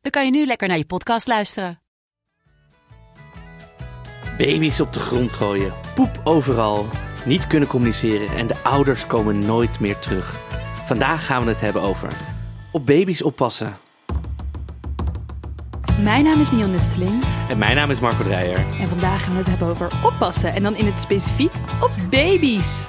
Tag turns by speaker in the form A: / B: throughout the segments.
A: dan kan je nu lekker naar je podcast luisteren.
B: Baby's op de grond gooien, poep overal, niet kunnen communiceren en de ouders komen nooit meer terug. Vandaag gaan we het hebben over op baby's oppassen.
C: Mijn naam is Mion Nusteling
B: En mijn naam is Marco Dreyer.
C: en vandaag gaan we het hebben over oppassen. En dan in het specifiek op baby's.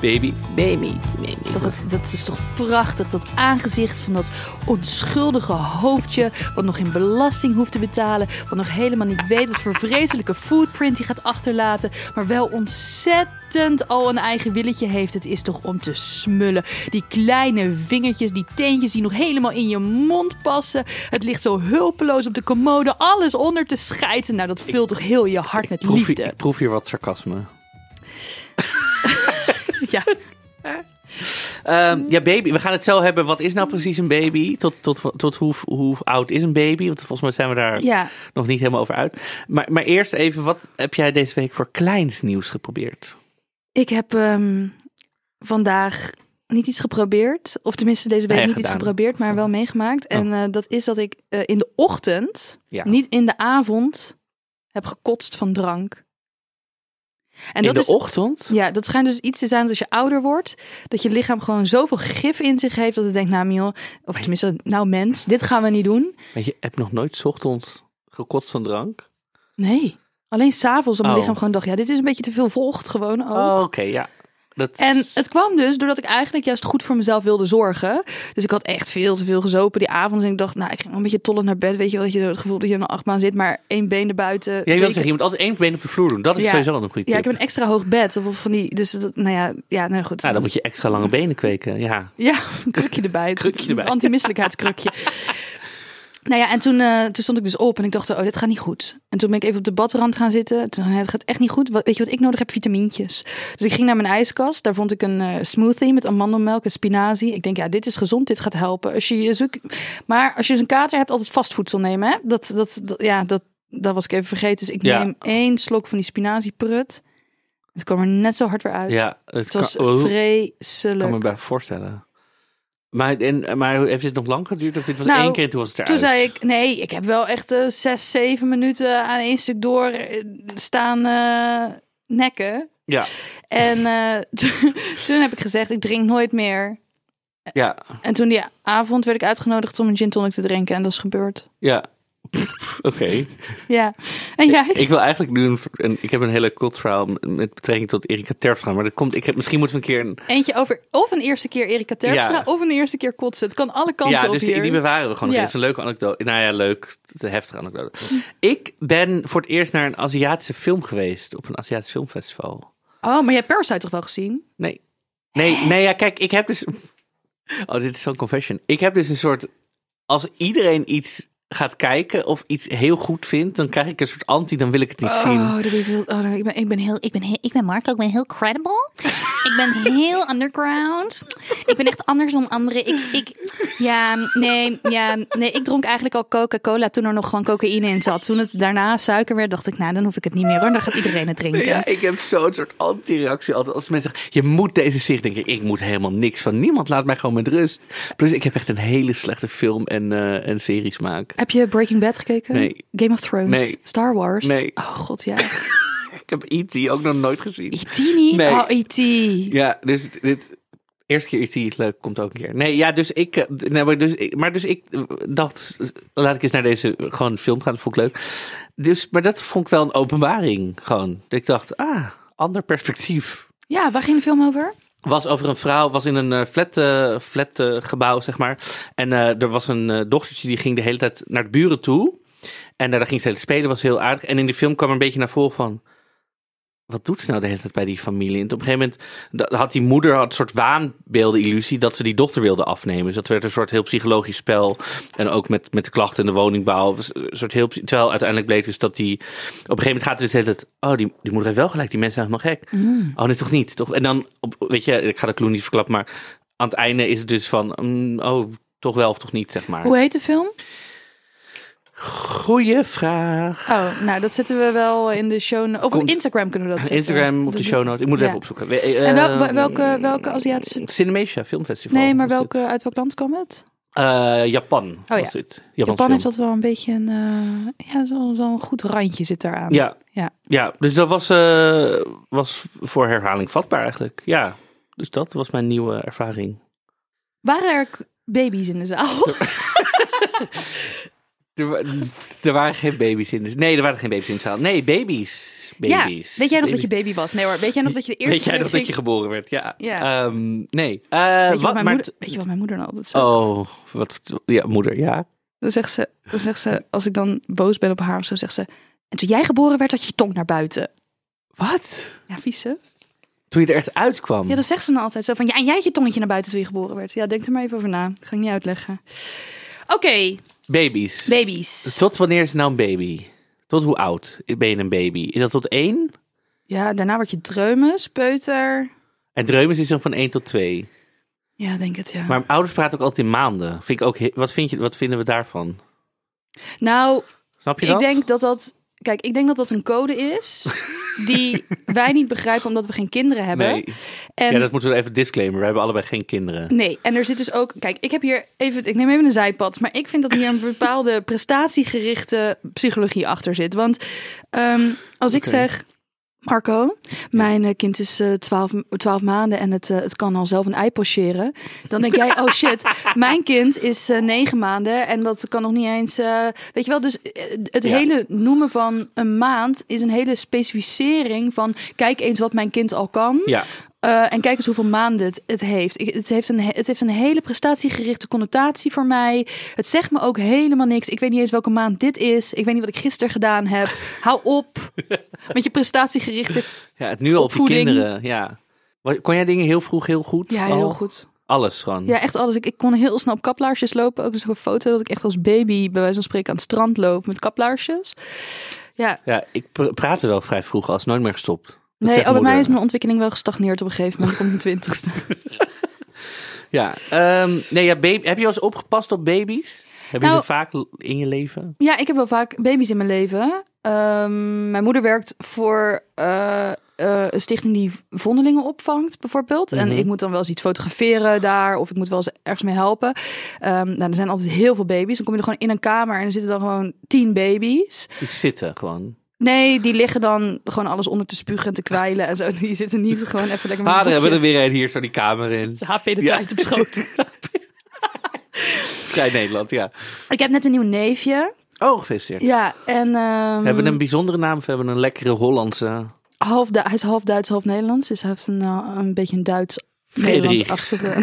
B: Baby, baby, baby.
C: Is toch het- dat is toch prachtig, dat aangezicht van dat onschuldige hoofdje... wat nog geen belasting hoeft te betalen... wat nog helemaal niet weet wat voor vreselijke footprint hij gaat achterlaten... maar wel ontzettend al een eigen willetje heeft. Het is toch om te smullen. Die kleine vingertjes, die teentjes die nog helemaal in je mond passen. Het ligt zo hulpeloos op de commode, alles onder te schijten. Nou, dat vult toch heel je hart met
B: proef, hier-
C: liefde.
B: Ik proef hier wat sarcasme.
C: Ja.
B: Ehm, ja, baby. We gaan het zo hebben. Wat is nou precies een baby? Tot, tot, tot hoe, hoe oud is een baby? Want volgens mij zijn we daar
C: ja,
B: nog niet helemaal over uit. Maar, maar eerst even, wat heb jij deze week voor kleins nieuws geprobeerd?
C: Ik heb ehm, vandaag niet iets geprobeerd. Of tenminste, deze week
B: Nee,
C: niet iets
B: gedaan. Oh.
C: geprobeerd, maar wel meegemaakt. En eh, dat is dat ik eh, in de ochtend,
B: Ja.
C: niet in de avond, heb gekotst van drank. En
B: In
C: dat
B: de
C: is,
B: ochtend?
C: Ja, dat schijnt dus iets te zijn dat als je ouder wordt, dat je lichaam gewoon zoveel gif in zich heeft dat het denkt, nou Miel, of tenminste, nou mens, dit gaan we niet doen.
B: Maar je hebt nog nooit 's ochtends gekotst van drank?
C: Nee, alleen s'avonds dat mijn
B: Oh.
C: lichaam gewoon dacht, ja, dit is een beetje te veel vocht gewoon ook.
B: Oh, oké, ja. Dat
C: En het kwam dus doordat ik eigenlijk juist goed voor mezelf wilde zorgen. Dus ik had echt veel te veel gezopen die avond. En ik dacht, nou, ik ging wel een beetje tollend naar bed. Weet je wel, dat je zo het gevoel dat je in een achtbaan zit, maar één been erbuiten.
B: Jij
C: Deken-
B: wil zeggen, je moet altijd één been op de vloer doen. Dat is
C: Ja.
B: sowieso al een goede tip.
C: Ja, ik heb een extra hoog bed. Of van die, dus dat, nou ja, ja, nou goed.
B: Ah, dan
C: Dat-
B: moet je extra lange benen kweken. Ja,
C: Ja, een krukje erbij.
B: Krukje erbij.
C: Een antimisselijkheidskrukje. nou ja, en toen, eh, toen stond ik dus op en ik dacht, oh, dit gaat niet goed. En toen ben ik even op de badrand gaan zitten. Toen dacht ik, het gaat echt niet goed. Wat, weet je wat ik nodig heb? Vitamintjes. Dus ik ging naar mijn ijskast. Daar vond ik een eh, smoothie met amandelmelk en spinazie. Ik denk, ja, dit is gezond. Dit gaat helpen. Als je je zoekt... Maar als je eens een kater hebt, altijd vastvoedsel nemen. Hè? Dat, dat, dat, ja, dat, dat was ik even vergeten. Dus ik
B: Ja.
C: neem één slok van die spinazieprut. Het kwam er net zo hard weer uit.
B: ja het
C: Het was
B: kan, oh, kan me
C: vreselijk.
B: bij voorstellen. Maar, en, maar heeft dit nog lang geduurd? Of dit was
C: Nou,
B: één keer en toen was het eruit?
C: Toen zei ik, nee, ik heb wel echt eh, zes, zeven minuten aan één stuk door eh, staan eh, nekken.
B: Ja,
C: En eh, toen- toen heb ik gezegd, ik drink nooit meer.
B: ja,
C: En toen die avond werd ik uitgenodigd om een gin tonic te drinken. En dat is gebeurd.
B: ja. Oké.
C: Ja. En jij?
B: Ik wil eigenlijk nu een, een- ik heb een hele cult verhaal met betrekking tot Erika Terpstra, maar dat komt. Ik heb misschien moeten we een keer een
C: Eentje over of een eerste keer Erika Terpstra
B: Ja.
C: of een eerste keer kotsen. Het kan alle kanten
B: ja,
C: op
B: dus die,
C: hier.
B: die bewaren we gewoon. nog.
C: Ja.
B: Dat is een leuke anekdote. Nou ja, leuk. Het is Een heftige anekdote. Ik ben voor het eerst naar een Aziatische film geweest. Op een Aziatisch filmfestival.
C: Oh, maar jij hebt Parasite toch wel gezien?
B: Nee. Nee, nee, ja, kijk, ik heb dus... Oh, dit is zo'n confession. Ik heb dus een soort... Als iedereen iets gaat kijken of iets heel goed vindt, dan krijg ik een soort anti, dan wil ik het niet zien.
C: Oh, dat ben je veel- oh, ik, ben, ik ben heel... Ik ben heel
D: Ik ben Marco, ik ben heel credible. ik ben heel underground. Ik ben echt anders dan anderen. Ik, ik,
C: Ja, nee, ja, nee, ik dronk eigenlijk al Coca-Cola toen er nog gewoon cocaïne in zat. Toen het daarna suiker werd, dacht ik, nou, dan hoef ik het niet meer hoor. Dan gaat iedereen het drinken.
B: Ja, ik heb zo'n soort anti-reactie altijd. Als mensen zeggen, je moet deze serie, denk ik, ik moet helemaal niks van niemand. Laat mij gewoon met rust. Plus, ik heb echt een hele slechte film- en, eh en seriesmaak.
C: Heb je Breaking Bad gekeken?
B: Nee.
C: Game of Thrones?
B: Nee.
C: Star Wars?
B: Nee.
C: Oh god, ja.
B: Ik heb E.T. ook nog nooit gezien.
C: E.T. niet?
B: Nee.
C: Oh, E.T.
B: E Ja, dus dit... Eerste keer E.T. is leuk, komt ook een keer. Nee, ja, dus ik... eh, Nee, maar, dus, ik- maar dus ik eh, dacht, laat ik eens naar deze gewoon film gaan. Dat vond ik leuk. Dus, maar dat vond ik wel een openbaring, gewoon. Ik dacht, ah, ander perspectief.
C: Ja, waar ging de film over?
B: was over een vrouw, was in een eh, flat, eh, flat eh, gebouw, zeg maar. En eh, er was een eh, dochtertje die ging de hele tijd naar de buren toe. En eh, daar ging ze spelen, was heel aardig. En in die film kwam er een beetje naar voren van... wat doet ze nou de hele tijd bij die familie? En op een gegeven moment da- had die moeder had een soort waanbeelden illusie dat ze die dochter wilde afnemen. Dus dat werd een soort heel psychologisch spel. En ook met, met de klachten in de woningbouw. was Een soort heel, psy- terwijl uiteindelijk bleek dus dat die... Op een gegeven moment gaat het dus de hele tijd... Oh, die, die moeder heeft wel gelijk. Die mensen zijn helemaal gek. Oh, nee, toch niet. Toch? En dan, op, weet je, ik ga de clue niet verklappen. Maar aan het einde is het dus van... mm, oh, toch wel of toch niet, zeg maar.
C: Hoe heet de film?
B: Goeie vraag.
C: Oh, nou, dat zetten we wel in de show. no- Of op
B: Komt-
C: Instagram kunnen we dat zetten.
B: Instagram of
C: Dat
B: de
C: doen-
B: show notes. Ik moet het
C: Ja.
B: even opzoeken. We- eh,
C: En wel- wel- welke, welke Aziatische...
B: Het Cinemesia Filmfestival.
C: Nee, maar
B: was
C: welke,
B: het.
C: uit welk land kwam het?
B: Eh, Japan
C: ja.
B: was dit. Japan
C: Japan heeft dat wel een beetje een... eh, ja, zo'n zo goed randje zit daar aan.
B: Ja.
C: Ja.
B: ja. Ja, dus dat was, eh, was voor herhaling vatbaar eigenlijk. Ja, dus dat was mijn nieuwe ervaring.
C: Waren er k- baby's in de zaal?
B: Er, wa- er waren geen baby's in de Nee, er waren geen baby's in de zaal. Nee, baby's.
C: ja,
B: baby's.
C: weet jij nog dat
B: Baby-
C: je baby was? Nee hoor, weet jij nog dat je de eerste
B: Weet jij
C: keer
B: nog dat
C: ging-
B: je geboren werd? Ja.
C: Ja.
B: Ehm, nee. Eh,
C: Weet je, wat
B: wat,
C: mijn
B: maar
C: moeder, weet je wat mijn moeder dan altijd
B: t-
C: zegt?
B: Oh, wat, ja, moeder, ja.
C: Dan zegt, ze, dan zegt ze, als ik dan boos ben op haar of zo, zegt ze... En toen jij geboren werd, had je je tong naar buiten.
B: Wat?
C: Ja, vies hè?
B: Toen je er echt uitkwam.
C: Ja, dat zegt ze dan altijd zo van... Ja, en jij had je tongetje naar buiten toen je geboren werd. Ja, denk er maar even over na. Dat ga ik niet uitleggen. Oké,
B: Baby's.
C: baby's.
B: Tot wanneer is nou een baby? Tot hoe oud ben je een baby? Is dat tot één?
C: Ja, daarna word je dreumen, speuter.
B: En dreumes is dan van één tot twee.
C: Ja, denk het ja.
B: Maar ouders praten ook altijd in maanden. Vind ik ook, he- wat, vind je, wat vinden we daarvan?
C: Nou,
B: Snap je
C: ik
B: dat?
C: denk dat dat... Kijk, ik denk dat dat een code is die wij niet begrijpen omdat we geen kinderen hebben.
B: Nee.
C: En
B: Ja, dat moeten we even disclaimer. We hebben allebei geen kinderen.
C: Nee, en er zit dus ook. Kijk, ik heb hier even. Ik neem even een zijpad. Maar ik vind dat hier een bepaalde prestatiegerichte psychologie achter zit. Want ehm, als ik
B: Oké.
C: zeg. Marco, mijn eh, kind is eh, 12, m- 12 maanden en het, eh, het kan al zelf een ei pocheren. Dan denk jij, oh shit, mijn kind is eh 9 maanden en dat kan nog niet eens. eh, weet je wel, dus eh, het
B: Ja.
C: hele noemen van een maand is een hele specificering van kijk eens wat mijn kind al kan.
B: Ja,
C: Eh, en kijk eens hoeveel maanden het, het heeft. Ik- het, heeft een, he- het heeft een hele prestatiegerichte connotatie voor mij. Het zegt me ook helemaal niks. Ik weet niet eens welke maand dit is. Ik weet niet wat ik gisteren gedaan heb. Hou op met je prestatiegerichte.
B: ja het nu al op je
C: Opvoeding.
B: kinderen. Ja. Wat- Kon jij dingen heel vroeg heel goed?
C: Ja, heel
B: Al?
C: goed.
B: Alles gewoon.
C: Ja, echt alles. Ik, ik kon heel snel op kaplaarsjes lopen. Ook dus een foto dat ik echt als baby, bij wijze van spreken, aan het strand loop met kaplaarsjes. Ja,
B: Ja, ik pr- praatte wel vrij vroeg als nooit meer gestopt. Dat
C: nee,
B: zegt
C: oh, bij mij
B: moeder.
C: is mijn ontwikkeling wel gestagneerd op een gegeven moment. Ik kom op mijn twintigste.
B: Ja, ehm, nee, ja baby, heb je wel eens opgepast op baby's? Heb je
C: Nou-
B: ze vaak l- in je leven?
C: Ja, ik heb wel vaak baby's in mijn leven. Ehm, mijn moeder werkt voor eh, eh, een stichting die vondelingen opvangt, bijvoorbeeld. En
B: Mhm.
C: ik moet dan wel eens iets fotograferen daar, of ik moet wel eens ergens mee helpen. Ehm, nou, er zijn altijd heel veel baby's. Dan kom je er gewoon in een kamer en er zitten dan gewoon tien baby's.
B: Die zitten gewoon.
C: Nee, die liggen dan gewoon alles onder te spugen en te kwijlen en zo. Die zitten niet gewoon even lekker met
B: Ah,
C: een
B: daar hebben we
C: boekje.
B: er weer een hier zo die kamer in.
C: HP de
B: Ja.
C: tijd op schoot.
B: Vrij Nederland, ja.
C: ik heb net een nieuw neefje.
B: Oh, gefeliciteerd.
C: Ja, en... ehm,
B: Hebben we een bijzondere naam of hebben we een lekkere Hollandse?
C: half Du- hij is half Duits, half Nederlands. Dus hij heeft een, eh, een beetje een Duits.
B: Frederik.
C: Nederlands-achtige.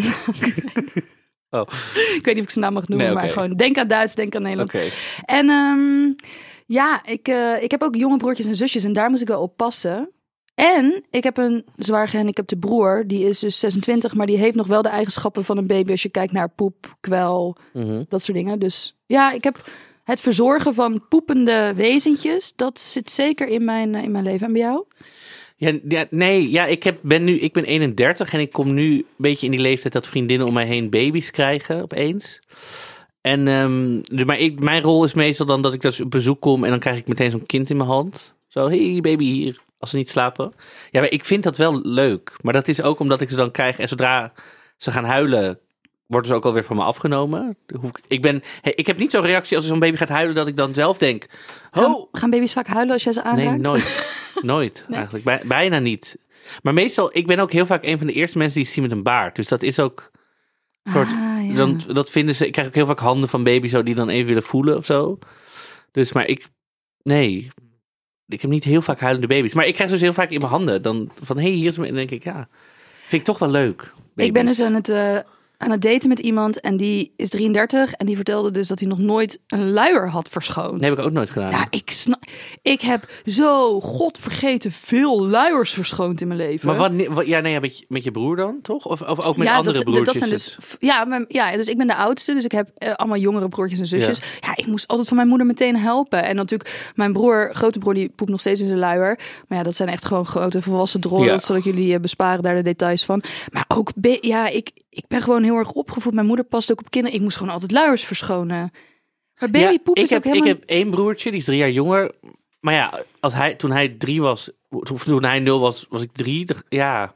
B: Oh.
C: Ik weet niet of ik zijn naam mag noemen,
B: Nee,
C: maar
B: oké.
C: gewoon denk aan Duits, denk aan
B: Oké.
C: Nederland. En ehm, ja, ik, eh, ik heb ook jonge broertjes en zusjes en daar moet ik wel op passen. En ik heb een zwaar gehandicapte broer, die is dus 26, maar die heeft nog wel de eigenschappen van een baby als je kijkt naar poep, kwel,
B: Mhm.
C: dat soort dingen. Dus ja, ik heb het verzorgen van poepende wezentjes, dat zit zeker in mijn, eh, in mijn leven. En bij jou?
B: Ja, ja, nee, ja, ik, heb, ben nu, ik ben 31 en ik kom nu een beetje in die leeftijd dat vriendinnen om mij heen baby's krijgen opeens. En, ehm, de- maar ik, mijn rol is meestal dan dat ik dus op bezoek kom en dan krijg ik meteen zo'n kind in mijn hand. Zo, hey baby hier, als ze niet slapen. Ja, maar ik vind dat wel leuk. Maar dat is ook omdat ik ze dan krijg en zodra ze gaan huilen, wordt ze ook alweer van me afgenomen. Dan hoef ik, ik, ben, hey, ik heb niet zo'n reactie als er zo'n baby gaat huilen dat ik dan zelf denk,
C: Gaan,
B: oh,
C: gaan baby's vaak huilen als jij ze aanraakt?
B: Nee, nooit. Nooit eigenlijk. Bij- bijna niet. Maar meestal, ik ben ook heel vaak een van de eerste mensen die ik zie met een baard. Dus dat is ook. een Soort,
C: Ah, ja.
B: dan, dat vinden ze. Ik krijg ook heel vaak handen van baby zo die dan even willen voelen of zo. Dus, maar ik. Nee. Ik heb niet heel vaak huilende baby's. Maar ik krijg ze dus heel vaak in mijn handen. Dan van hé, hey, hier is mijn. En dan denk ik, ja. Vind ik toch wel leuk.
C: ik ben
B: baby's.
C: dus aan het eh, aan het daten met iemand en die is 33 en die vertelde dus dat hij nog nooit een luier had verschoond.
B: Nee, heb ik ook nooit gedaan.
C: Ja, ik snap. Ik heb zo godvergeten veel luiers verschoond in mijn leven.
B: maar wat, wat- ja, nee, ja, met, je- met je broer dan, toch? Of, of ook met
C: ja,
B: andere
C: dat,
B: broertjes?
C: dat zijn
B: en
C: dus,
B: zo?
C: ja, mijn- ja, dus ik ben de oudste, dus ik heb eh, allemaal jongere broertjes en zusjes. Ja. ik moest altijd van mijn moeder meteen helpen. En natuurlijk, mijn broer, grote broer, die poept nog steeds in zijn luier. Maar ja, dat zijn echt gewoon grote volwassen drollen.
B: Ja.
C: Dat zal ik jullie eh, besparen daar de details van. Maar ook, be- ja, ik, ik ben gewoon heel erg opgevoed. Mijn moeder past ook op kinderen. Ik moest gewoon altijd luiers verschonen. Maar
B: Ja,
C: babypoep
B: ik
C: is
B: heb,
C: ook helemaal...
B: Ik heb één broertje, die is drie jaar jonger. Maar ja, als hij, toen hij drie was, of toen hij nul was, was ik drie. Dacht- Ja,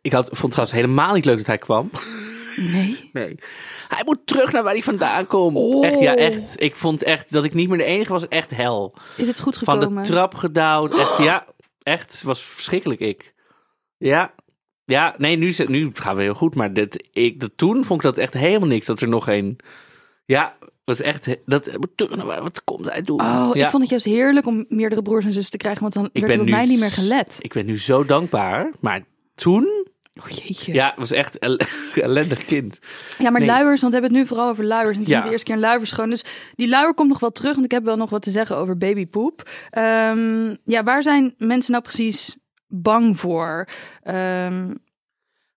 B: ik had, vond het trouwens helemaal niet leuk dat hij kwam.
C: Nee.
B: Nee. Hij moet terug naar waar hij vandaan komt.
C: Oh.
B: Echt, ja, echt. Ik vond echt dat ik niet meer de enige was. Echt hel.
C: Is het goed
B: Van
C: gekomen?
B: de trap gedouwd. Echt, ja. Echt, was verschrikkelijk ik. Ja. Ja, nee, nu, is het- nu gaan we heel goed. Maar dit, ik, dat, toen vond ik dat echt helemaal niks. Dat er nog een... Ja, was echt... he- Dat, wat komt hij doen?
C: Oh,
B: ja.
C: ik vond het juist heerlijk om meerdere broers en zussen te krijgen, want dan
B: Ik
C: werd er
B: ben
C: op
B: nu
C: mij niet meer
B: s-
C: gelet.
B: Ik ben nu zo dankbaar. Maar toen...
C: Oh jeetje.
B: Ja, was echt el- ellendig kind.
C: Ja, maar
B: Nee.
C: luiers, want we hebben het nu vooral over luiers. En het is
B: Ja.
C: niet de eerste keer een luier verschonen. Dus die luier komt nog wel terug, want ik heb wel nog wat te zeggen over babypoep. Ehm, ja, waar zijn mensen nou precies bang voor? Ehm,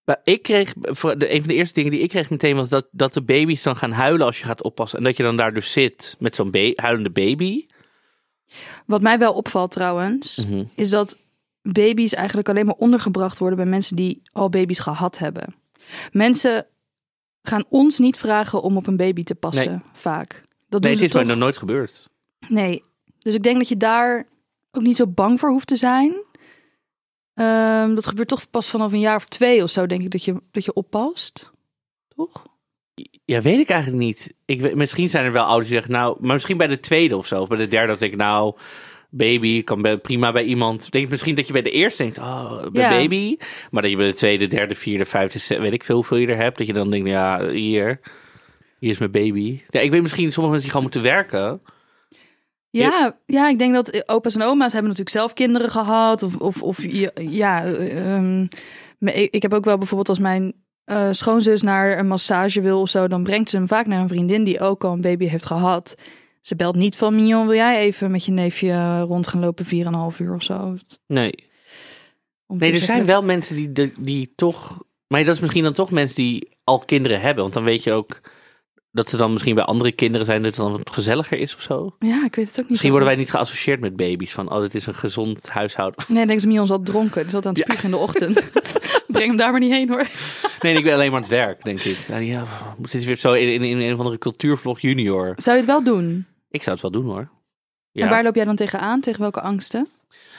B: Maar ik kreeg, voor de, een van de eerste dingen die ik kreeg meteen was dat, dat de baby's dan gaan huilen als je gaat oppassen. En dat je dan daar dus zit met zo'n ba- huilende baby.
C: wat mij wel opvalt trouwens,
B: Mhm.
C: is dat baby's eigenlijk alleen maar ondergebracht worden bij mensen die al baby's gehad hebben. Mensen gaan ons niet vragen om op een baby te passen,
B: Nee.
C: vaak. Dat
B: Nee,
C: doen
B: het
C: ze
B: is mij
C: toch?
B: nog nooit gebeurd.
C: Nee. Dus ik denk dat je daar ook niet zo bang voor hoeft te zijn. Ehm, dat gebeurt toch pas vanaf een jaar of twee of zo, denk ik, dat je, dat je oppast. Toch?
B: Ja, weet ik eigenlijk niet. Ik, weet- misschien zijn er wel ouders die zeggen, nou, maar misschien bij de tweede of zo. Of bij de derde, dat ik, nou, baby kan bij- prima bij iemand. Ik Denk misschien dat je bij de eerste denkt, oh, bij
C: Ja.
B: baby. Maar dat je bij de tweede, derde, vierde, vijfde, zes- weet ik veel hoeveel je er hebt. Dat je dan denkt, ja, hier, hier is mijn baby. Ja, ik weet misschien sommige mensen die gewoon moeten werken.
C: Ja, ja, ik denk dat opa's en oma's hebben natuurlijk zelf kinderen gehad. Of, of, of je- ja, ehm, maar ik ik heb ook wel bijvoorbeeld als mijn eh, schoonzus naar een massage wil of zo, dan brengt ze hem vaak naar een vriendin die ook al een baby heeft gehad. Ze belt niet van Mignon, wil jij even met je neefje rond gaan lopen vier en een half uur of zo?
B: Nee.
C: Om te
B: Nee, er
C: zeggen-
B: zijn wel mensen die, de- die toch. Maar dat is misschien dan toch mensen die al kinderen hebben. Want dan weet je ook dat ze dan misschien bij andere kinderen zijn. Dat het dan wat gezelliger is of zo.
C: Ja, ik weet het ook niet.
B: Misschien
C: zo
B: worden wij
C: goed.
B: niet geassocieerd met baby's. Van, oh, dit is een gezond huishouden.
C: Nee, ik denk dat Mion zat dronken. Die zat aan het
B: Ja.
C: spugen in de ochtend. Breng hem daar maar niet heen hoor.
B: Nee, ik ben alleen maar aan het werk, denk ik. Ja, ja, we zitten weer zo in, in, in een of andere cultuurvlog junior.
C: Zou je het wel doen?
B: Ik zou het wel doen hoor. Ja.
C: En waar loop jij dan tegenaan? Tegen welke angsten?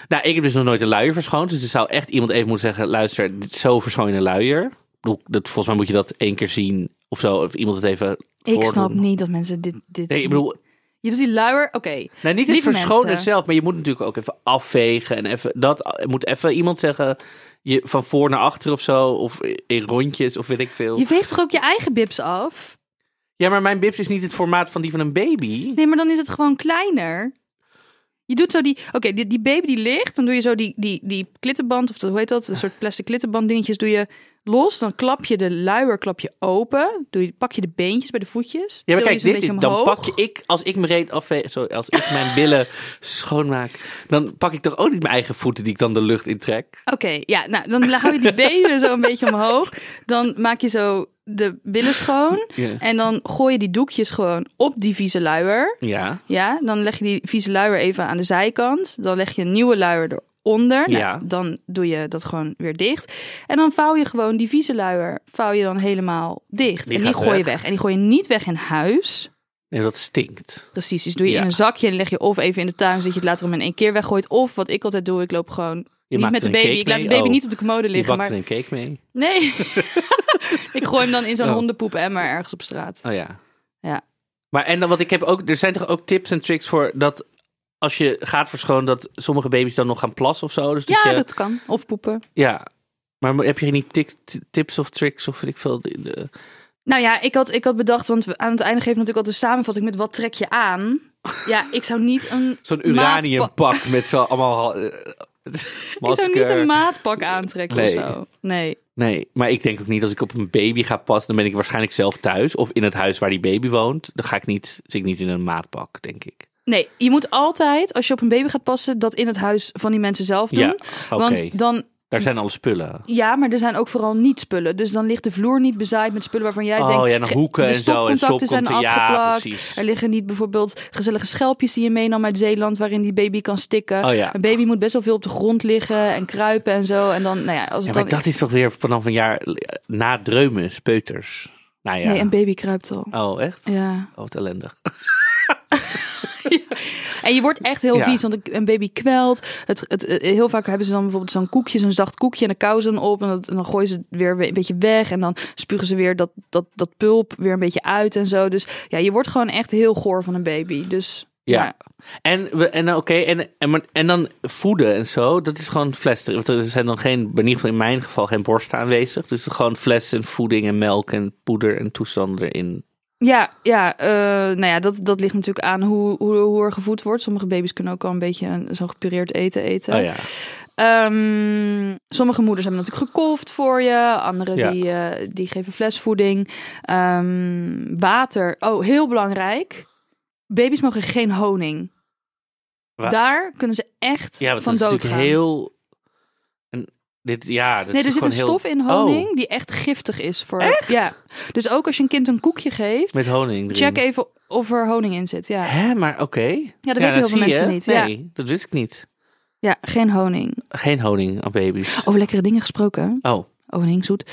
B: Nou, ik heb dus nog nooit een luier verschoond. Dus er zou echt iemand even moeten zeggen: luister, dit- zo verschoon je een luier. Ik bedoel, Dat, volgens mij moet je dat één keer zien of zo. Of iemand het even.
C: Ik snap
B: voordoen.
C: niet dat mensen dit... dit
B: Nee, ik bedoel,
C: Je doet die luier... Oké.
B: Nou, niet het
C: Lieve
B: verschonen
C: mensen.
B: zelf, maar je moet natuurlijk ook even afvegen. En even, dat er moet even iemand zeggen, je, van voor naar achter of zo. Of in rondjes, of weet ik veel.
C: Je veegt toch ook je eigen bibs af?
B: Ja, maar mijn bibs is niet het formaat van die van een baby.
C: Nee, maar dan is het gewoon kleiner. Je doet zo die... Oké, die, die baby die ligt. Dan doe je zo die, die, die klittenband. Of dat, hoe heet dat? Een soort plastic klittenband dingetjes doe je los. Dan klap je de luier klap je open. Doe je, pak je de beentjes bij de voetjes.
B: Ja, maar
C: til je
B: kijk,
C: ze een
B: dit is,
C: beetje
B: dan
C: omhoog.
B: pak je ik, als ik mijn reet afveeg, sorry, als ik mijn billen schoonmaak, dan pak ik toch ook niet mijn eigen voeten die ik dan de lucht intrek.
C: Oké, ja, nou dan hou je die benen zo een beetje omhoog. Dan maak je zo de billen schoon.
B: Ja.
C: En dan gooi je die doekjes gewoon op die vieze luier.
B: Ja.
C: Ja, dan leg je die vieze luier even aan de zijkant. Dan leg je een nieuwe luier eronder. Nou,
B: Ja.
C: Dan doe je dat gewoon weer dicht. En dan vouw je gewoon die vieze luier, vouw je dan helemaal dicht.
B: Die
C: en die
B: gaat
C: gooi je
B: weg.
C: weg. En die gooi je niet weg in huis.
B: Nee, dat stinkt.
C: Precies, dus doe je
B: Ja.
C: in een zakje en leg je of even in de tuin, zodat je het later om in één keer weggooit. Of wat ik altijd doe, ik loop gewoon
B: Je
C: niet
B: maakt
C: met de
B: er een
C: baby.
B: cake
C: Ik laat de
B: mee?
C: baby
B: Oh.
C: niet op de commode
B: Je
C: liggen.
B: bakt
C: Maar
B: er een cake mee.
C: Nee. ik gooi hem dan in zo'n
B: Oh.
C: hondenpoep-emmer ergens op straat.
B: Oh ja.
C: Ja.
B: Maar en dan wat ik heb ook, er zijn toch ook tips en tricks voor dat als je gaat verschonen, dat sommige baby's dan nog gaan plassen of zo. Dus dat
C: Ja,
B: je,
C: dat kan. Of poepen.
B: ja. Maar heb je niet tik- t- tips of tricks of weet ik veel? De, de-
C: Nou ja, ik had, ik had bedacht, want we- aan het einde geven we natuurlijk altijd de samenvatting met wat trek je aan. Ja, ik zou niet een
B: Zo'n
C: maatpa-
B: uraniumpak met zo allemaal eh,
C: Ik zou niet
B: masker.
C: een maatpak aantrekken
B: Nee.
C: of zo. Nee.
B: Nee, maar ik denk ook niet als ik op een baby ga passen, dan ben ik waarschijnlijk zelf thuis of in het huis waar die baby woont. Dan ga ik niet, zit ik niet in een maatpak, denk ik.
C: Nee, je moet altijd, als je op een baby gaat passen, dat in het huis van die mensen zelf doen.
B: Ja, oké.
C: Want dan,
B: Daar zijn alle spullen.
C: ja, maar er zijn ook vooral niet spullen. Dus dan ligt de vloer niet bezaaid met spullen waarvan jij
B: Oh,
C: denkt...
B: ja, en
C: ge-
B: hoeken
C: de
B: en zo, en
C: stopcontacten zijn
B: stopcontact- ja,
C: afgeplakt.
B: precies.
C: er liggen niet bijvoorbeeld gezellige schelpjes die je meenam uit Zeeland, waarin die baby kan stikken.
B: Oh ja.
C: Een baby moet best wel veel op de grond liggen en kruipen en zo. En dan, nou ja, als
B: Ja,
C: het
B: maar
C: dan...
B: dat is toch weer vanaf een jaar eh, na dreumen, peuters. Nou ja.
C: Nee, een baby kruipt al.
B: Oh, echt?
C: Ja.
B: Oh, wat ellendig.
C: En je wordt echt heel
B: Ja.
C: vies, want een- een baby kwelt. Het, het, eh, heel vaak hebben ze dan bijvoorbeeld zo'n koekje, zo'n zacht koekje, en dan kauwen ze dan op en, dat- en dan gooien ze het weer een beetje weg. En dan spugen ze weer dat, dat, dat pulp weer een beetje uit en zo. Dus ja, je wordt gewoon echt heel goor van een baby. Dus
B: Ja.
C: nou,
B: En, we- en oké, en, en, maar- en dan voeden en zo, dat is gewoon fles. Want er zijn dan geen, in ieder geval in mijn geval, geen borsten aanwezig. Dus gewoon fles en voeding en melk en poeder en toestanden erin.
C: ja, ja, eh, nou ja dat, dat ligt natuurlijk aan hoe, hoe, hoe er gevoed wordt. Sommige baby's kunnen ook al een beetje een- zo'n gepureerd eten eten.
B: Oh ja.
C: Ehm, sommige moeders hebben natuurlijk gekolft voor je. Anderen
B: Ja.
C: die, eh, die geven flesvoeding. Ehm, water. Oh, heel belangrijk. Baby's mogen geen honing.
B: Wa-
C: Daar kunnen ze echt
B: Ja, want
C: van
B: dat is
C: dood
B: natuurlijk
C: gaan.
B: heel... En dit, ja, dat
C: Nee,
B: is
C: er zit een
B: gewoon heel-
C: stof in honing
B: Oh,
C: die echt giftig is voor. Ja. Dus ook als je een kind een koekje geeft,
B: met honing erin.
C: check even of er honing in zit. Ja,
B: Hè, maar oké.
C: ja dat weten heel veel
B: zie je.
C: mensen niet. Ja.
B: Nee, dat wist ik niet.
C: ja, geen honing.
B: Geen honing aan baby's.
C: Over lekkere dingen gesproken.
B: Oh,
C: honing zoet.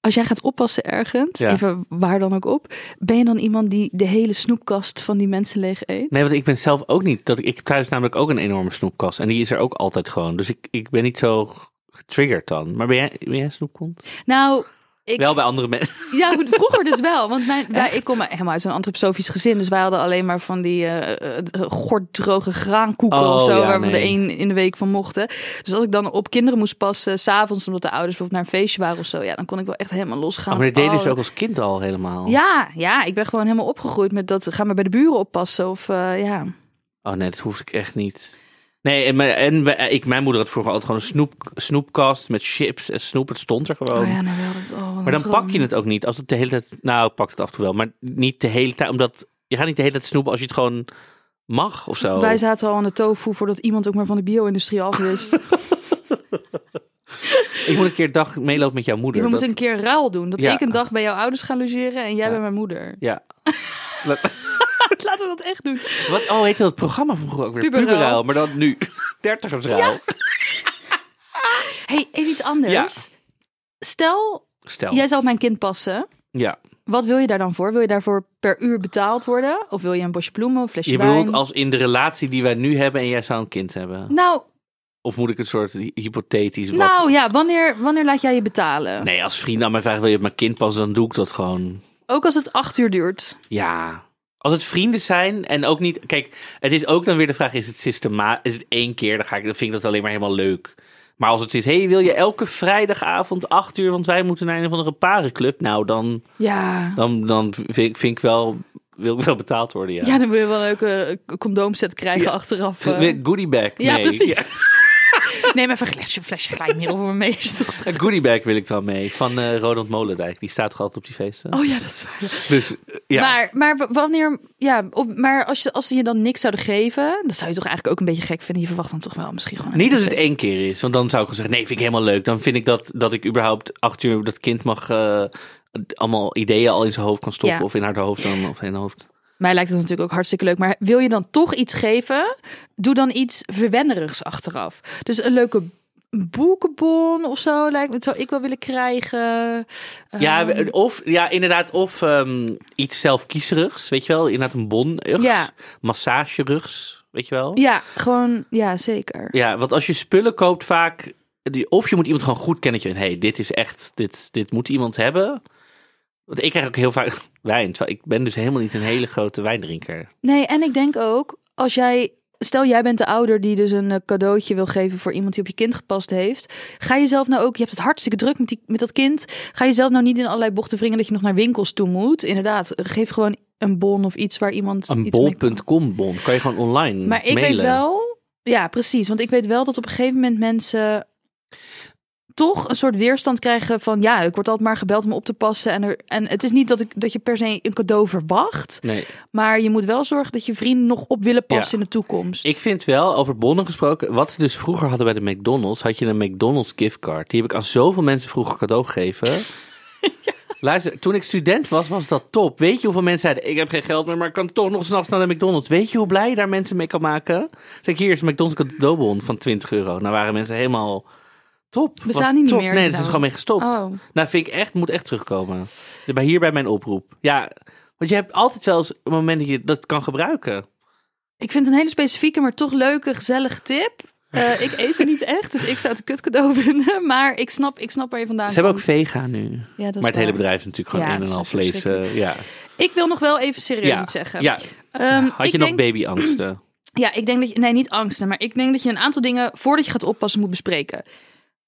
C: Als jij gaat oppassen ergens,
B: Ja.
C: even waar dan ook op, ben je dan iemand die de hele snoepkast van die mensen leeg eet?
B: nee, want ik ben zelf ook niet. Dat ik, ik heb thuis namelijk ook een enorme snoepkast. En die is er ook altijd gewoon. Dus ik, ik ben niet zo getriggerd dan. Maar ben jij, ben jij snoepkont?
C: Nou, ik,
B: Wel bij andere mensen.
C: ja, goed, vroeger dus wel, want mijn, wij, ik kom helemaal uit zo'n antroposofisch gezin, dus wij hadden alleen maar van die eh, eh, gorddroge graankoeken
B: Oh,
C: of zo,
B: ja,
C: waar we
B: nee.
C: er één in de week van mochten. Dus als ik dan op kinderen moest passen, s'avonds omdat de ouders bijvoorbeeld naar een feestje waren of zo, ja, dan kon ik wel echt helemaal losgaan.
B: Oh, maar dat deden
C: Oh,
B: ze ook als kind al helemaal.
C: Ja, ja, ik ben gewoon helemaal opgegroeid met dat, ga maar bij de buren oppassen of eh, ja.
B: Oh nee, dat hoef ik echt niet. Nee, en, mijn- en wij- ik, mijn moeder had vroeger altijd gewoon een snoep, snoepkast met chips en snoep. Het stond er gewoon.
C: Oh ja, nou wel, dat, oh, wat een
B: Maar dan
C: droom.
B: pak je het ook niet als het de hele tijd. Nou, ik pak het af en toe wel, maar niet de hele tijd. Omdat je gaat niet de hele tijd snoepen als je het gewoon mag of zo.
C: Wij zaten al aan de tofu voordat iemand ook maar van de bio-industrie af wist.
B: Ik moet een keer een dag meelopen met jouw moeder.
C: We
B: dat-
C: moeten een keer ruil doen. Dat
B: Ja.
C: ik een dag bij jouw ouders ga logeren en jij
B: Ja.
C: bij mijn moeder.
B: Ja.
C: Laten we dat echt doen.
B: Wat, oh, heette dat programma vroeger ook weer?
C: Puberruil.
B: Puberruil, maar dan nu. Dertigersruil.
C: hey, even iets anders. Stel,
B: Stel.
C: jij zou mijn kind passen.
B: Ja.
C: Wat wil je daar dan voor? Wil je daarvoor per uur betaald worden? Of wil je een bosje bloemen, een flesje
B: Je
C: wijn?
B: bedoelt als in de relatie die wij nu hebben en jij zou een kind hebben?
C: Nou,
B: Of moet ik een soort hy- hypothetisch wat?
C: nou ja, wanneer, wanneer laat jij je betalen?
B: Nee, als vrienden aan mij vragen wil je op mijn kind passen, dan doe ik dat gewoon.
C: Ook als het acht uur duurt.
B: Ja. Als het vrienden zijn en ook niet. Kijk, het is ook dan weer de vraag: is het systema? Is het één keer? Dan, ga ik, dan vind ik dat alleen maar helemaal leuk. Maar als het is, hey, wil je elke vrijdagavond acht uur? Want wij moeten naar een of andere parenclub. Nou, dan,
C: Ja.
B: dan, dan vind, ik- vind ik wel, wil ik wel betaald worden. Ja.
C: Ja, dan wil je wel een leuke eh, condoomset krijgen achteraf. eh.
B: Weer Goodie bag.
C: Ja,
B: mee.
C: precies.
B: Ja,
C: Neem even een flesje, flesje glijmiddel voor me mee. Is toch
B: Een goodie bag wil ik dan mee. Van eh Ronald Molendijk. Die staat toch altijd op die feesten.
C: Oh ja, dat is waar.
B: Dus ja.
C: Maar, maar w- wanneer, ja, of, maar als, je, als ze je dan niks zouden geven, dan zou je toch eigenlijk ook een beetje gek vinden. Je verwacht dan toch wel misschien gewoon. een
B: Niet als het
C: café.
B: één keer is, want dan zou ik wel zeggen: nee, vind ik helemaal leuk. Dan vind ik dat, dat ik überhaupt acht uur dat kind mag. eh, d- allemaal ideeën al in zijn hoofd kan stoppen.
C: Ja.
B: Of in haar hoofd dan, of in haar hoofd.
C: Mij lijkt het natuurlijk ook hartstikke leuk. Maar wil je dan toch iets geven, doe dan iets verwenderigs achteraf. Dus een leuke boekenbon of zo lijkt me. Zou ik wel willen krijgen.
B: ja,
C: Ehm,
B: we- of ja, inderdaad. Of ehm, iets zelfkiezerigs, weet je wel. Inderdaad, een bon.
C: Ja.
B: Massagerugs, weet je wel. Ja.
C: ja, gewoon, ja, zeker.
B: want als je spullen koopt, vaak. Die, of je moet iemand gewoon goed kennen. dat je- Hé, hey, dit is echt. Dit, dit moet iemand hebben. Want ik krijg ook heel vaak wijn. Terwijl ik ben dus helemaal niet een hele grote wijndrinker.
C: Nee, en ik denk ook, als jij. Stel, jij bent de ouder die dus een eh, cadeautje wil geven voor iemand die op je kind gepast heeft. Ga jezelf nou ook, je hebt het hartstikke druk met, die, met dat kind. Ga jezelf nou niet in allerlei bochten wringen dat je nog naar winkels toe moet. Inderdaad, geef gewoon een bon of iets waar iemand.
B: Een
C: iets mee kan.
B: bol.com bon. Kan je gewoon online
C: Maar ik
B: mailen.
C: weet wel. Ja, precies. Want ik weet wel dat op een gegeven moment mensen toch een soort weerstand krijgen van ja, ik word altijd maar gebeld om op te passen. En, er, en het is niet dat, ik, dat je per se een cadeau verwacht,
B: Nee.
C: maar je moet wel zorgen dat je vrienden nog op willen passen
B: Ja.
C: in de toekomst.
B: Ik vind wel, over bonnen gesproken, wat ze dus vroeger hadden bij de McDonald's, had je een McDonald's giftcard. Die heb ik aan zoveel mensen vroeger cadeau gegeven. Luister, toen ik student was, was dat top. Weet je hoeveel mensen zeiden, ik heb geen geld meer, maar ik kan toch nog s'nachts naar de McDonald's. Weet je hoe blij je daar mensen mee kan maken? Zeg, hier is een McDonald's cadeaubon van 20 euro. Nou waren mensen helemaal top.
C: Bestaan
B: Was
C: die niet
B: top.
C: meer,
B: Nee,
C: die
B: ze is
C: nou?
B: gewoon mee gestopt.
C: Oh.
B: Nou, vind ik echt, moet echt terugkomen. Bij- Hier bij mijn oproep. Ja, want je hebt altijd wel eens een moment dat je dat kan gebruiken.
C: Ik vind het een hele specifieke, maar toch leuke, gezellige tip. Eh, ik eet er niet echt, dus ik zou het een kut cadeau vinden. Maar ik snap, ik snap waar je vandaan
B: Ze hebben ook
C: komt.
B: vega nu.
C: Ja,
B: Maar
C: dat is
B: het hele
C: waar.
B: bedrijf is natuurlijk gewoon
C: Ja,
B: een en
C: het
B: al
C: is
B: vlees. eh, ja.
C: Ik wil nog wel even serieus
B: Ja.
C: iets zeggen.
B: ja.
C: Ehm,
B: Had
C: ik
B: je nog
C: denk,
B: babyangsten?
C: Ja, ik denk dat je... Nee, niet angsten, maar ik denk dat je een aantal dingen... voordat je gaat oppassen moet bespreken.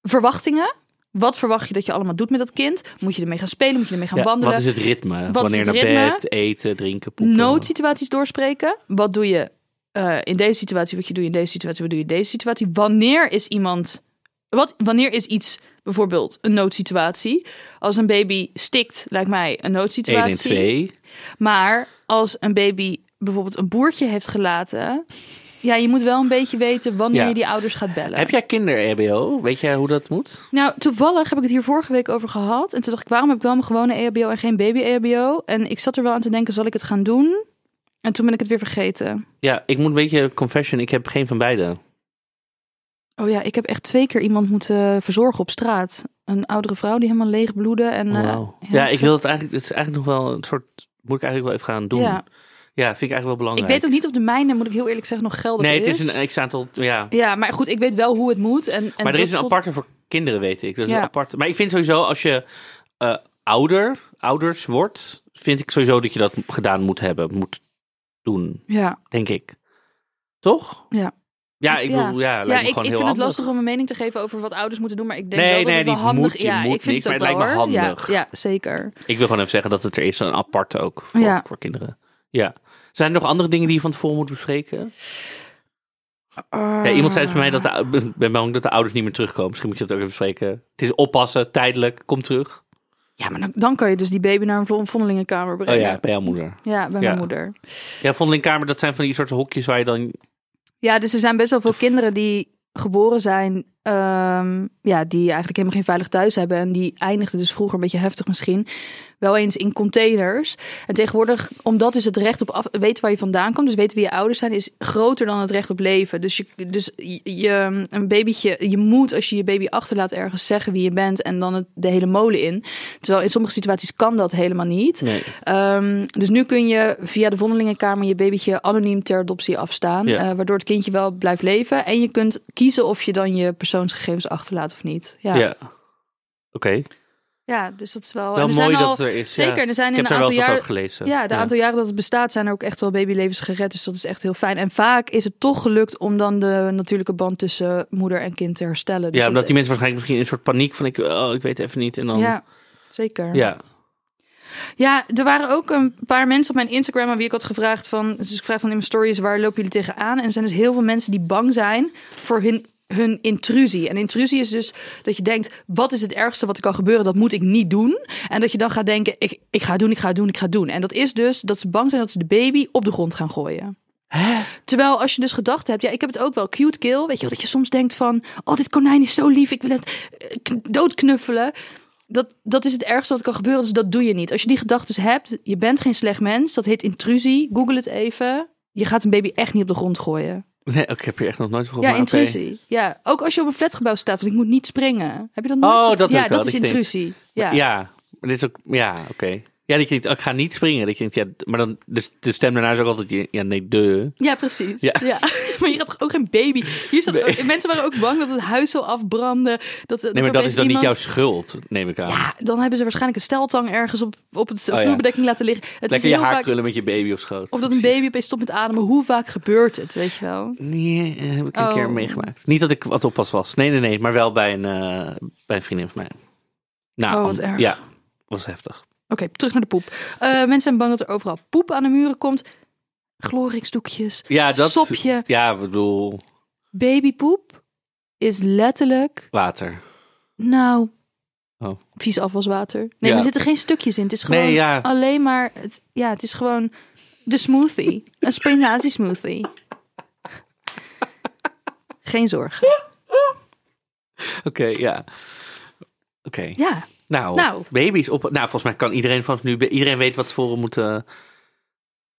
C: Verwachtingen. Wat verwacht je dat je allemaal doet met dat kind? Moet je ermee gaan spelen? Moet je ermee gaan
B: Ja,
C: wandelen?
B: wat is het ritme?
C: is
B: Wanneer
C: het
B: naar
C: ritme?
B: bed, eten, drinken, poepen?
C: noodsituaties doorspreken. Wat doe je eh, in deze situatie? Wat je doet in deze situatie? Wat doe je in deze situatie? Wanneer is iemand. Wat, wanneer is iets bijvoorbeeld een noodsituatie? Als een baby stikt, lijkt mij
B: 1
C: een
B: en
C: noodsituatie.
B: 2.
C: Maar als een baby bijvoorbeeld een boertje heeft gelaten. Ja, je moet wel een beetje weten wanneer
B: Ja.
C: je die ouders gaat bellen.
B: Heb jij kinder-EBO? Weet jij hoe dat moet?
C: Nou, toevallig heb ik het hier vorige week over gehad. En toen dacht ik, waarom heb ik wel mijn gewone E EHBO en geen baby-EHBO? En ik zat er wel aan te denken, zal ik het gaan doen? En toen ben ik het weer vergeten.
B: Ja, ik moet een beetje confession. Ik heb geen van beide.
C: Oh ja, ik heb echt twee keer iemand moeten verzorgen op straat. Een oudere vrouw die helemaal leeg bloedde. En, eh,
B: Oh, Wauw.
C: ja,
B: ja,
C: het
B: ik
C: is-
B: wil het eigenlijk... Het is eigenlijk nog wel een soort... Moet ik eigenlijk wel even gaan doen.
C: Ja.
B: Ja, vind ik eigenlijk wel
C: ik
B: belangrijk.
C: weet ook niet of de mijne, moet ik heel eerlijk zeggen, nog geldig
B: Nee,
C: is.
B: het is een x-aantal... Ja,
C: Ja, maar goed, ik weet wel hoe het moet. En, en
B: maar er
C: dat
B: is een
C: voelt-
B: aparte voor kinderen, weet ik. Dat is
C: Ja.
B: een aparte. Maar ik vind sowieso als je eh, ouder, ouders wordt, vind ik sowieso dat je dat gedaan moet hebben, moet doen,
C: Ja,
B: denk ik. Toch?
C: Ja.
B: Ja, ik
C: Ja.
B: bedoel, ja, lijkt
C: ja
B: me
C: ik, ik
B: gewoon
C: vind
B: heel
C: het
B: handig.
C: lastig om een mening te geven over wat ouders moeten doen. Maar ik denk
B: Nee,
C: wel dat
B: nee,
C: het wel
B: niet
C: handig
B: moet,
C: is.
B: je
C: Ja,
B: moet
C: ik vind
B: niks,
C: het ook
B: maar het
C: wel,
B: lijkt me
C: hoor.
B: handig.
C: Ja, ja, zeker.
B: Ik wil gewoon even zeggen dat het er is, een aparte ook, voor,
C: Ja.
B: voor kinderen. Ja. Zijn er nog andere dingen die je van tevoren moet bespreken? Ja, iemand zei dus bij mij dat de, ou- ik ben bang dat de ouders niet meer terugkomen. Misschien moet je dat ook even bespreken. Het is oppassen, tijdelijk, kom terug.
C: Ja, maar dan, dan kan je dus die baby naar een vo- vondelingenkamer
B: Oh
C: brengen.
B: ja, bij jouw moeder.
C: Ja, bij
B: Ja.
C: mijn moeder.
B: Ja, vondelingkamer, dat zijn van die soort hokjes waar je dan
C: Ja, dus er zijn best wel veel kinderen die geboren zijn. ehm, ja, die eigenlijk helemaal geen veilig thuis hebben. En die eindigden dus vroeger een beetje heftig misschien. Wel eens in containers. En tegenwoordig, omdat dus het recht op af, weten waar je vandaan komt, dus weten wie je ouders zijn, is groter dan het recht op leven. Dus je, dus je- je, een babytje, je moet als je je baby achterlaat ergens zeggen wie je bent en dan het, de hele molen in. Terwijl in sommige situaties kan dat helemaal niet.
B: Nee.
C: Ehm, dus nu kun je via de vondelingenkamer je babytje anoniem ter adoptie afstaan.
B: Ja.
C: eh, waardoor het kindje wel blijft leven. En je kunt kiezen of je dan je persoonsgegevens achterlaat of niet. Ja,
B: Ja.
C: ja.
B: Oké.
C: dus dat is wel...
B: Wel
C: en er
B: mooi
C: zijn
B: dat
C: al,
B: het er is.
C: Zeker,
B: Ja.
C: en er zijn
B: Ik
C: in
B: heb
C: een
B: daar wel
C: aantal
B: eens wat
C: jaren...
B: over gelezen.
C: Ja, de aantal jaren dat het bestaat zijn er ook echt wel babylevens gered. Dus dat is echt heel fijn. En vaak is het toch gelukt om dan de natuurlijke band tussen moeder en kind te herstellen. Dus
B: Ja,
C: dat
B: omdat
C: is-
B: die mensen waarschijnlijk misschien in een soort paniek van ik, oh, ik weet even niet. En dan, ja.
C: Ja, zeker.
B: Ja.
C: Ja, er waren ook een paar mensen op mijn Instagram aan wie ik had gevraagd van... Dus ik vraag dan in mijn stories, waar lopen jullie tegenaan? En er zijn dus heel veel mensen die bang zijn voor hun, hun intrusie. En intrusie is dus dat je denkt, wat is het ergste wat er kan gebeuren? Dat moet ik niet doen. En dat je dan gaat denken, ik, ik ga het doen, ik ga het doen, ik ga het doen. En dat is dus dat ze bang zijn dat ze de baby op de grond gaan gooien. Terwijl als je dus gedachten hebt, ja, ik heb het ook wel cute kill. Weet je wel, dat je soms denkt van, oh, dit konijn is zo lief, ik wil het eh, kn- doodknuffelen. Dat, dat is het ergste wat kan gebeuren, dus dat doe je niet. Als je die gedachten hebt, je bent geen slecht mens, dat heet intrusie. Google het even. Je gaat een baby echt niet op de grond gooien.
B: Nee, ik heb hier echt nog nooit van gehoord.
C: Ja,
B: maar oké.
C: intrusie. Ja, ook als je op een flatgebouw staat, want ik moet niet springen. Heb je dat nooit?
B: Oh,
C: zo-
B: dat
C: ja,
B: heb ik wel,
C: dat is
B: dat je denkt-
C: intrusie.
B: Ja.
C: Ja.
B: maar dit is ook, ja, oké. Ja, die klinkt, oh, ik ga niet springen. Die klinkt, ja, maar dan, de, de stem daarna is ook altijd, ja, nee, de.
C: Ja, precies. Ja.
B: Ja.
C: Maar hier had toch ook geen baby. Hier zat ook- mensen waren ook bang dat het huis zou afbranden. Dat,
B: Nee, maar dat
C: opeens
B: is dan
C: iemand-
B: niet jouw schuld, neem ik aan.
C: Ja, dan hebben ze waarschijnlijk een steltang ergens op, op het
B: Oh ja.
C: vloerbedekking laten liggen. Het
B: Lekker
C: is
B: je
C: heel
B: haar
C: vaak,
B: krullen met je baby op schoot.
C: of dat een
B: Precies.
C: baby opeens stopt met ademen. Hoe vaak gebeurt het, weet je wel?
B: Nee, eh, heb ik een
C: Oh.
B: keer meegemaakt. Niet dat ik wat oppas was. Nee, nee, nee. Maar wel bij een, eh, bij een vriendin van mij. Nou,
C: Oh, wat
B: an-
C: erg.
B: Ja, was heftig.
C: Oké, terug naar de poep. Eh, mensen zijn bang dat er overal poep aan de muren komt. Glorixdoekjes,
B: Ja, dat...
C: sopje,
B: Ja, ik bedoel,
C: babypoep is letterlijk...
B: water.
C: Nou,
B: Oh.
C: precies afwaswater. Nee,
B: Ja.
C: maar er zitten geen stukjes in. Het is gewoon
B: Nee, ja.
C: alleen maar... Het, ja, het is gewoon de smoothie. Een spinazie smoothie. Geen zorgen.
B: Oké, ja. Oké.
C: Ja,
B: Nou,
C: Nou.
B: baby's op. Nou, volgens mij kan iedereen vanaf nu. Iedereen weet wat ze voor moeten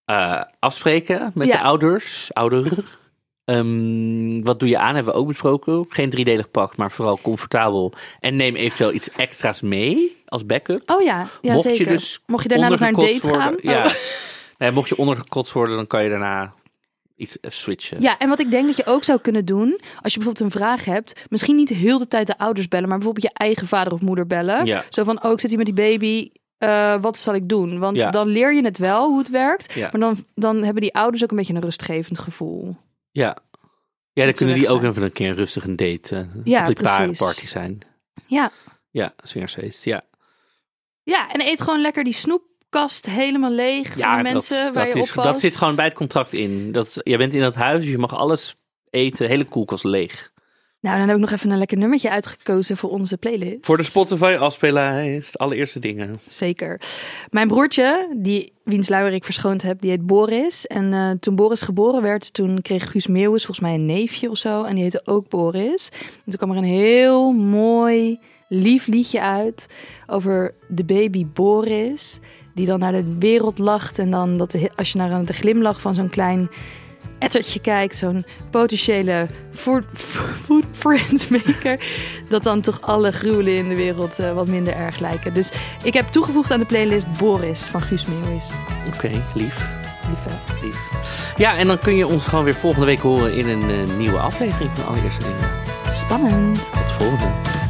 B: eh, afspreken met
C: Ja.
B: de ouders. Ouder. Ehm, wat doe je aan? Hebben we ook besproken. Geen driedelig pak, maar vooral comfortabel. En neem eventueel iets extra's mee als backup.
C: oh ja, ja
B: mocht
C: zeker.
B: je dus
C: Mocht je daarna nog naar een date
B: ondergekotst
C: gaan.
B: worden, Ja.
C: Oh.
B: Nee, mocht je ondergekotst worden, dan kan je daarna iets eh, switchen.
C: Ja, en wat ik denk dat je ook zou kunnen doen, als je bijvoorbeeld een vraag hebt, misschien niet heel de tijd de ouders bellen, maar bijvoorbeeld je eigen vader of moeder bellen.
B: Ja.
C: Zo van, oh, ik zit hier met die baby, eh, wat zal ik doen? Want
B: Ja.
C: dan leer je het wel, hoe het werkt,
B: Ja.
C: maar dan, dan hebben die ouders ook een beetje een rustgevend gevoel.
B: Ja, ja dan
C: Moet
B: kunnen
C: weg
B: die ook
C: zijn.
B: even een keer rustig een date. eh
C: Ja,
B: op die
C: precies.
B: parenparty zijn.
C: Ja.
B: Ja, swingersfeest. Ja,
C: Ja, en eet gewoon lekker die snoepkast helemaal leeg van
B: ja
C: de mensen
B: dat,
C: waar
B: dat,
C: je
B: is,
C: op
B: dat zit gewoon bij het contract in. Dat, is- je bent in dat huis, dus je mag alles eten, hele koelkast leeg.
C: Nou, dan heb ik nog even een lekker nummertje uitgekozen voor onze playlist.
B: Voor de Spotify afspeellijst, allereerste dingen.
C: Zeker. Mijn broertje, die, wiens luier ik verschoond heb, die heet Boris. En eh, toen Boris geboren werd, toen kreeg Guus Meeuwis volgens mij een neefje of zo. En die heette ook Boris. En toen kwam er een heel mooi, lief liedje uit over de baby Boris. Die dan naar de wereld lacht. En dan dat de- als je naar de glimlach van zo'n klein ettertje kijkt, zo'n potentiële food- footprint maker, dat dan toch alle gruwelen in de wereld eh, wat minder erg lijken. Dus ik heb toegevoegd aan de playlist Boris van Guus Meeuwis.
B: Oké, lief,
C: Lief, hè?
B: lief. Ja, en dan kun je ons gewoon weer volgende week horen in een eh, nieuwe aflevering van allereerste dingen.
C: Spannend.
B: Tot de volgende.